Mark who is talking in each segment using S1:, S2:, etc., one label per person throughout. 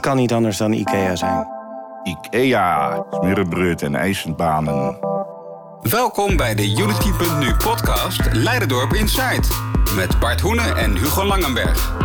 S1: Kan niet anders dan IKEA zijn.
S2: IKEA, smerenbreud en ijsbanen.
S3: Welkom bij de Unity.nu podcast Leiderdorp Insight. Met Bart Hoenen en Hugo Langenberg.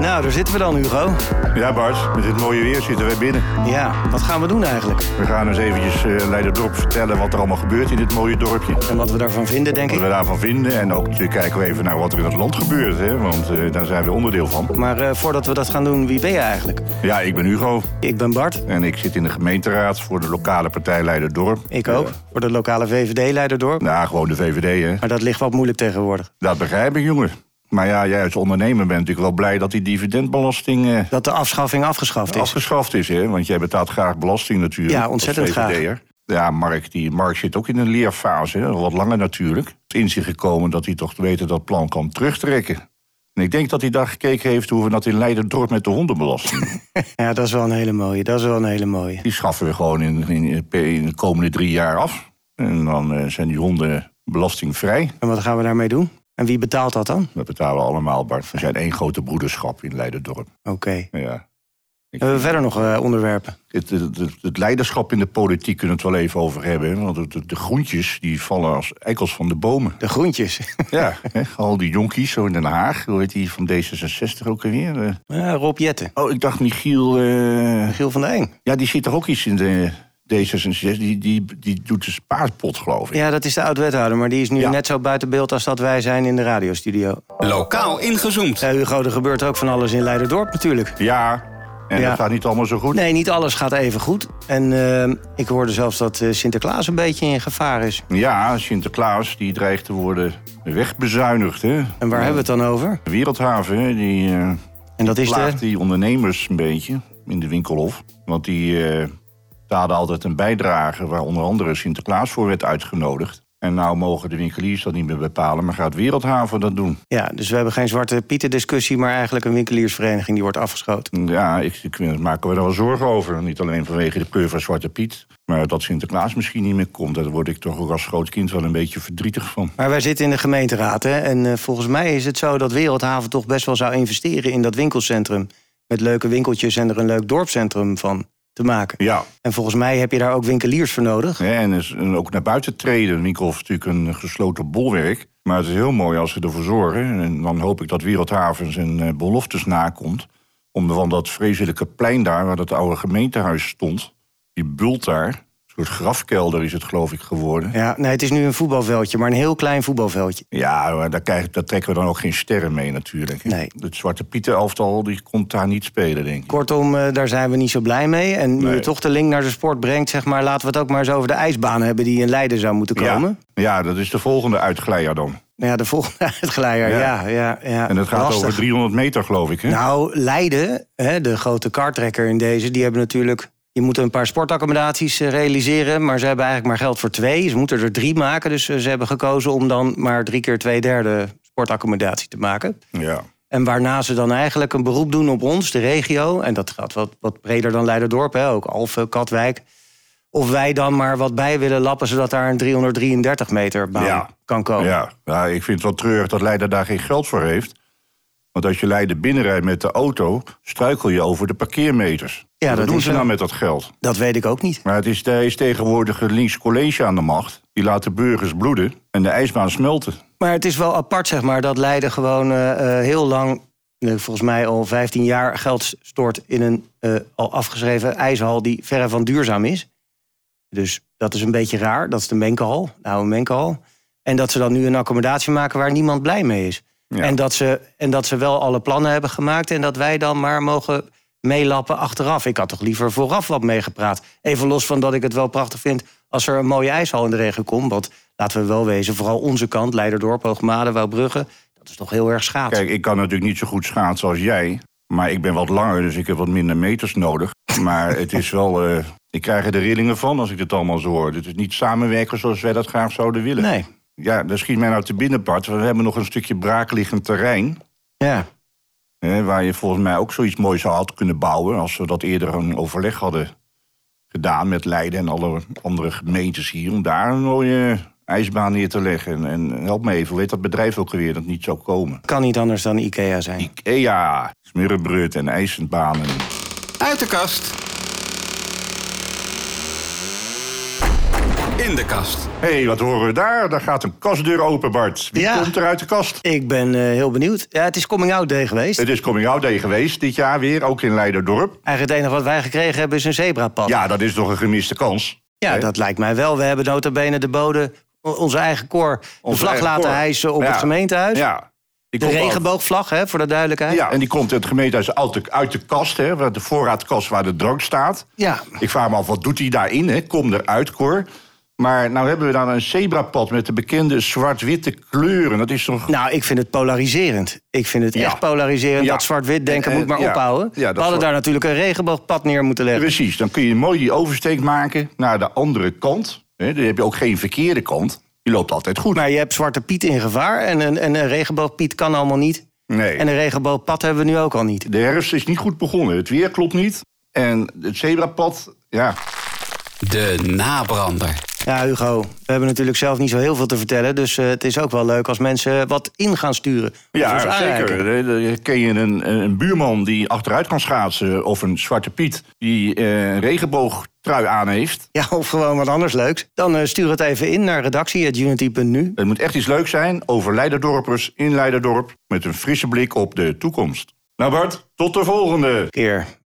S1: Nou, daar zitten we dan, Hugo.
S2: Ja Bart, met dit mooie weer zitten wij binnen.
S1: Ja, wat gaan we doen eigenlijk?
S2: We gaan eens eventjes eh Leiderdorp vertellen wat er allemaal gebeurt in dit mooie dorpje.
S1: En wat we daarvan vinden, denk
S2: Wat
S1: ik.
S2: we daarvan vinden en ook natuurlijk kijken we even naar wat er in het land gebeurt, hè? want eh, daar zijn we onderdeel van.
S1: Maar eh, voordat we dat gaan doen, wie ben je eigenlijk?
S2: Ja, ik ben Hugo
S1: Ik ben Bart.
S2: en ik zit in de gemeenteraad voor de lokale partij Leiderdorp.
S1: Ik ook. Voor de lokale VVD-leider door.
S2: Nou, gewoon de VVD hè.
S1: Maar dat ligt wat moeilijk tegenwoordig.
S2: Dat begrijp ik jongen. Maar ja, jij als ondernemer bent natuurlijk wel blij dat die dividendbelasting eh,
S1: Dat de afschaffing afgeschaft is.
S2: afgeschaft is, hè? Want jij betaalt graag belasting natuurlijk.
S1: Ja, ontzettend
S2: als VVD'er. Ja, Mark, die, Mark zit ook in een leerfase, hè, al wat langer natuurlijk. Het is in zich gekomen dat hij toch beter dat plan kan terugtrekken. En ik denk dat hij daar gekeken heeft hoe we dat in Leiden-dorp met de hondenbelasting. doen.
S1: Ja, dat is wel een hele mooie. Dat is wel een hele mooie.
S2: die schaffen we gewoon in, in, in de komende drie jaar af. En dan eh, zijn die honden belastingvrij.
S1: En wat gaan we daarmee doen? En wie betaalt dat dan?
S2: Dat betalen we allemaal, Bart. We zijn één grote broederschap in Leiden-dorp.
S1: Oké.
S2: Ja.
S1: Hebben we verder nog eh, onderwerpen?
S2: Het, het, het- het leiderschap in de politiek kunnen we het wel even over hebben. hè, Want het- het- de groentjes die vallen als eikels van de bomen.
S1: De groentjes.
S2: Ja, hè, al die jonkies zo in Den Haag. Hoe heet die van D66 ook alweer? Eh,
S1: Ja, Rob Jetten.
S2: Oh, ik dacht Michiel... eh,
S1: Giel van der Eng.
S2: ja, die zit toch ook iets in de D66? Die, die, die doet de spaarpot, geloof ik.
S1: Ja, dat is de oud-wethouder, maar die is nu
S2: Ja.
S1: net zo buiten beeld als dat wij zijn in de radiostudio.
S3: Lokaal ingezoomd.
S1: Ja, Hugo, er gebeurt ook van alles in Leiderdorp natuurlijk.
S2: Ja, en
S1: Ja.
S2: dat gaat niet allemaal zo goed.
S1: Nee, niet alles gaat even goed. En eh, ik hoorde zelfs dat eh, Sinterklaas een beetje in gevaar is.
S2: Ja, Sinterklaas die dreigt te worden wegbezuinigd. Hè?
S1: En waar hebben we het dan over?
S2: De Wereldhaven, hè, die... eh,
S1: En dat is de...
S2: plaagt die ondernemers een beetje in de winkelhof. Want die eh betaalden altijd een bijdrage waar onder andere Sinterklaas voor werd uitgenodigd. En nou mogen de winkeliers dat niet meer bepalen, maar gaat Wereldhaven dat doen?
S1: Ja, dus we hebben geen zwarte pieten discussie, maar eigenlijk een winkeliersvereniging die wordt afgeschoten.
S2: Ja, ik, ik daar maken we er wel zorgen over. Niet alleen vanwege de kleur van Zwarte Piet, maar dat Sinterklaas misschien niet meer komt. Daar word ik toch ook als groot kind wel een beetje verdrietig van.
S1: Maar wij zitten in de gemeenteraad, hè? En eh, volgens mij is het zo dat Wereldhaven toch best wel zou investeren in dat winkelcentrum. Met leuke winkeltjes en er een leuk dorpscentrum van te maken.
S2: Ja,
S1: En volgens mij heb je daar ook winkeliers voor nodig.
S2: hè, en, is- en ook naar buiten treden. Een winkelhof is natuurlijk een gesloten bolwerk. Maar het is heel mooi als ze ervoor zorgen. En dan hoop ik dat Wereldhaven zijn eh, beloftes nakomt. Om van dat vreselijke plein daar, waar dat oude gemeentehuis stond... die bult daar, een soort grafkelder is het geloof ik geworden...
S1: Ja, nee, het is nu een voetbalveldje, maar een heel klein voetbalveldje.
S2: Ja, maar daar, krijg, daar trekken we dan ook geen sterren mee natuurlijk. hè.
S1: Nee.
S2: Het Zwarte Pieter-elftal die komt daar niet spelen, denk ik.
S1: Kortom, eh, daar zijn we niet zo blij mee. En nu
S2: Nee.
S1: je toch de link naar de sport brengt, zeg maar, laten we het ook maar eens over de ijsbaan hebben die in Leiden zou moeten komen.
S2: Ja, ja, dat is de volgende uitglijder dan.
S1: Nou ja, de volgende uitgeleier,
S2: Ja.
S1: ja. ja, ja,
S2: En dat gaat
S1: Lastig.
S2: over 300 meter, geloof ik. Hè?
S1: Nou, Leiden, hè, de grote kartrekker in deze, die hebben natuurlijk. Je moet een paar sportaccommodaties eh, realiseren, maar ze hebben eigenlijk maar geld voor twee. Ze moeten er drie maken, dus eh, ze hebben gekozen om dan maar drie keer twee derde sportaccommodatie te maken.
S2: Ja.
S1: En waarna ze dan eigenlijk een beroep doen op ons, de regio. En dat gaat wat, wat breder dan Leiderdorp, hè, ook Alphen, Katwijk. Of wij dan maar wat bij willen lappen, zodat daar een 333 meter baan
S2: Ja.
S1: kan komen.
S2: Ja. ja, ik vind het wel treurig dat Leiden daar geen geld voor heeft. Want als je Leiden binnenrijdt met de auto, struikel je over de parkeermeters.
S1: Ja,
S2: Wat
S1: dat
S2: doen
S1: is
S2: ze
S1: wel-
S2: nou met dat geld?
S1: Dat weet ik ook niet.
S2: Maar het is, daar is tegenwoordig een links college aan de macht. Die laat de burgers bloeden en de ijsbaan smelten.
S1: Maar het is wel apart, zeg maar, dat Leiden gewoon eh, eh, heel lang, eh, volgens mij al 15 jaar, geld stort in een eh, al afgeschreven ijshal die verre van duurzaam is. Dus dat is een beetje raar. Dat is de Menkenhal, de oude Menkenhal. En dat ze dan nu een accommodatie maken waar niemand blij mee is.
S2: Ja.
S1: En, dat ze, en dat ze wel alle plannen hebben gemaakt en dat wij dan maar mogen meelappen achteraf. Ik had toch liever vooraf wat meegepraat. Even los van dat ik het wel prachtig vind als er een mooie ijshal in de regen komt. Want laten we wel wezen, vooral onze kant, Leiderdorp, Hoogmade, Wouwbrugge... dat is toch heel erg schaats.
S2: Kijk, ik kan natuurlijk niet zo goed schaatsen als jij. Maar ik ben wat langer, dus ik heb wat minder meters nodig. Maar het is wel. eh, ik krijg er de rillingen van als ik dit allemaal zo hoor. Het is niet samenwerken zoals wij dat graag zouden willen.
S1: Nee,
S2: Ja, dat schiet mij nou te binnen, Bart. We hebben nog een stukje braakliggend terrein.
S1: ja.
S2: Hè, waar je volgens mij ook zoiets moois zou had kunnen bouwen. als we dat eerder een overleg hadden gedaan met Leiden en alle andere gemeentes hier. om daar een mooie ijsbaan neer te leggen. En, en help me even, hoe heet dat bedrijf ook alweer dat niet zou komen?
S1: kan niet anders dan IKEA zijn.
S2: IKEA, smerenbreud en ijsbanen.
S3: Uit de kast. In de kast.
S2: Hé, hey, wat horen we daar? Daar gaat een kastdeur open, Bart. Wie
S1: Ja.
S2: komt er uit de kast?
S1: Ik ben eh, heel benieuwd. Ja, het is coming out day geweest.
S2: Het is Coming Out Day geweest dit jaar weer, ook in Leiderdorp.
S1: Eigenlijk het enige wat wij gekregen hebben is een zebrapad.
S2: Ja, dat is toch een gemiste kans.
S1: Ja,
S2: Hè?
S1: dat lijkt mij wel. We hebben nota bene de bode, o- onze eigen koor, de
S2: Onze
S1: vlag
S2: eigen
S1: laten
S2: koor.
S1: hijsen op
S2: Ja.
S1: het gemeentehuis.
S2: Ja. Die
S1: De
S2: komt ook-
S1: regenboogvlag, hè, voor de duidelijkheid.
S2: Ja, en die komt het gemeentehuis uit de, uit de kast, hè, waar de voorraadkast waar de drank staat.
S1: Ja.
S2: Ik vraag me af, wat doet hij daarin? Hè? Kom eruit, Cor. Maar nou hebben we dan een zebrapad met de bekende zwart-witte kleuren. Dat is toch...
S1: Nou, ik vind het polariserend. Ik vind het
S2: Ja.
S1: echt polariserend.
S2: Ja.
S1: Dat zwart-wit denken
S2: En,
S1: moet maar
S2: ja.
S1: ophouden.
S2: Ja, dat
S1: We hadden
S2: soort-
S1: daar natuurlijk een regenboogpad neer moeten leggen.
S2: Precies, dan kun je mooi die oversteek maken naar de andere kant. Hè? Dan heb je ook geen verkeerde kant. Die loopt altijd goed.
S1: Maar je hebt Zwarte Piet in gevaar en een, en een regenboogpiet kan allemaal niet.
S2: Nee.
S1: En een regenboogpad hebben we nu ook al niet.
S2: De herfst is niet goed begonnen. Het weer klopt niet. En het zebrapad, ja.
S3: De nabrander.
S1: Ja, Hugo, we hebben natuurlijk zelf niet zo heel veel te vertellen. Dus eh, het is ook wel leuk als mensen wat in gaan sturen. Of ons
S2: Ja,
S1: aanreiken.
S2: zeker. Eh, eh, Ken je een, een buurman die achteruit kan schaatsen... of een zwarte Piet die eh, een regenboogtrui aan heeft...
S1: Ja, of gewoon wat anders leuks. Dan eh, stuur het even in naar redactie.unity.nu.
S2: Het moet echt iets leuks zijn over Leiderdorpers in Leiderdorp... met een frisse blik op de toekomst. Nou Bart, tot de volgende!
S1: Keer.